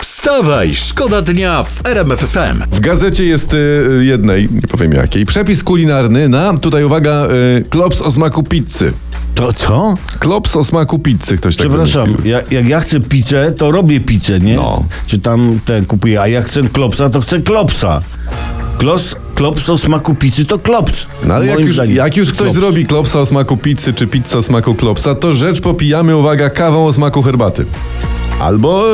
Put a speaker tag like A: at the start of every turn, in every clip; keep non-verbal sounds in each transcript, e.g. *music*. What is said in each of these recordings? A: Wstawaj, szkoda dnia w RMF FM.
B: W gazecie jest y, y, jednej, nie powiem jakiej, przepis kulinarny na, tutaj uwaga, y, klops o smaku pizzy.
C: To co?
B: Klops o smaku pizzy, ktoś tak
C: Przepraszam,
B: wymyślił.
C: ja, jak ja chcę pizzę, to robię pizzę, nie?
B: No.
C: Czy tam ten kupuję, a jak chcę klopsa, to chcę klopsa. Klos, klops o smaku pizzy to klops.
B: No ale jak
C: Moim
B: już,
C: zdaniem.
B: jak już ktoś
C: Klops.
B: zrobi klopsa o smaku pizzy, czy pizza o smaku klopsa, to rzecz popijamy, uwaga, kawą o smaku herbaty. Albo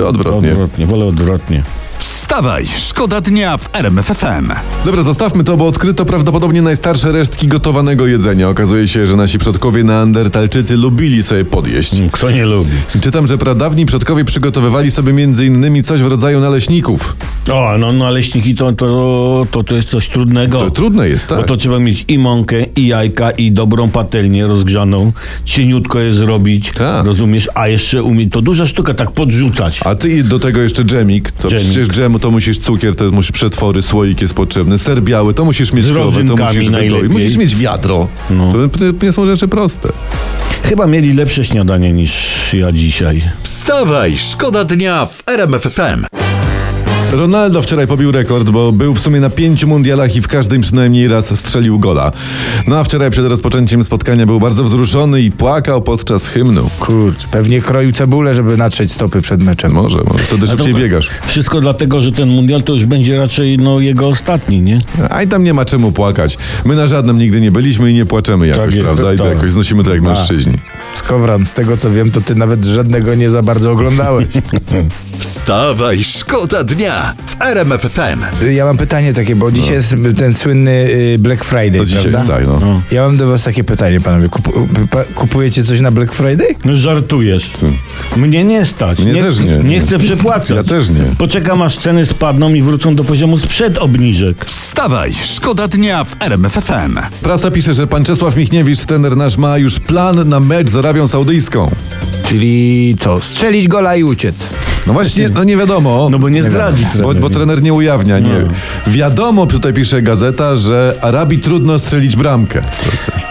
B: y, odwrotnie.
C: Odwrotnie, wolę odwrotnie.
A: Wstawaj, szkoda dnia w RMF FM.
B: Dobra, zostawmy to, bo odkryto prawdopodobnie najstarsze resztki gotowanego jedzenia. Okazuje się, że nasi przodkowie neandertalczycy lubili sobie podjeść.
C: Kto nie lubi?
B: Czytam, że pradawni przodkowie przygotowywali sobie m.in. coś w rodzaju naleśników.
C: O, no, no leśniki to, to, to, to jest coś trudnego.
B: To trudne jest, tak?
C: Bo to trzeba mieć i mąkę, i jajka, i dobrą patelnię rozgrzaną. Cieniutko je zrobić,
B: Tak.
C: rozumiesz? A jeszcze umieć, to duża sztuka, tak podrzucać.
B: A ty i do tego jeszcze dżemik. To
C: Dżemik.
B: przecież dżemu to musisz cukier, to musisz przetwory, słoik jest potrzebny, ser biały, to musisz mieć
C: Z
B: krowę, to
C: rodzynkami
B: musisz wydoić.
C: najlepiej. No.
B: Musisz mieć wiadro. To, to nie są rzeczy proste.
C: Chyba mieli lepsze śniadanie niż ja dzisiaj.
A: Wstawaj, szkoda dnia w RMF FM.
B: Ronaldo wczoraj pobił rekord, bo był w sumie na pięciu mundialach i w każdym przynajmniej raz strzelił gola. No a wczoraj przed rozpoczęciem spotkania był bardzo wzruszony i płakał podczas hymnu.
D: Kurde, pewnie kroił cebulę, żeby natrzeć stopy przed meczem.
B: Może, może. Wtedy szybciej
C: to-
B: biegasz.
C: Wszystko dlatego, że ten mundial to już będzie raczej no, jego ostatni, nie?
B: A i tam nie ma czemu płakać. My na żadnym nigdy nie byliśmy i nie płaczemy jakoś,
C: jest,
B: prawda? I to
C: tak.
B: jakoś znosimy to jak mężczyźni.
D: Skowron, z tego co wiem, to ty nawet żadnego nie za bardzo
B: *laughs*
D: oglądałeś.
A: Wstawaj, szkoda dnia w RMF FM.
D: Ja mam pytanie takie, bo dzisiaj jest ten słynny y, Black Friday,
B: No. To dzisiaj jest
D: prawda?
B: tak, no.
D: Ja mam do was takie pytanie, panowie. Kupu- pa- kupujecie coś na Black Friday?
C: No żartujesz. Mnie nie stać.
B: Mnie też nie.
C: Nie chcę przepłacać.
B: Ja też nie.
C: Poczekam aż ceny spadną i wrócą do poziomu sprzed obniżek.
A: Wstawaj, szkoda dnia w RMF FM.
B: Prasa pisze, że pan Czesław Michniewicz, trener nasz, ma już plan na mecz z Arabią Saudyjską.
D: Czyli co? Strzelić gola i uciec.
B: No właśnie, no nie wiadomo.
C: No bo nie No. zdradzi
B: Bo,
C: trener.
B: bo trener nie ujawnia, nie. Wiadomo, tutaj pisze gazeta, że Arabii trudno strzelić bramkę.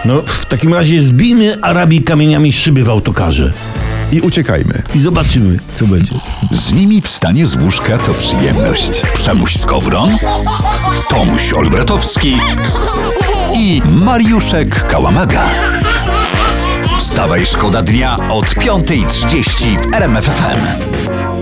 C: No w takim razie zbijmy Arabii kamieniami szyby w autokarze.
B: I uciekajmy.
C: I zobaczymy, co będzie.
A: Z nimi wstanie z łóżka to przyjemność. Przemuś Skowron, Tomuś Olbratowski i Mariuszek Kałamaga. Wstawaj, szkoda dnia od 5.30 w RMF FM.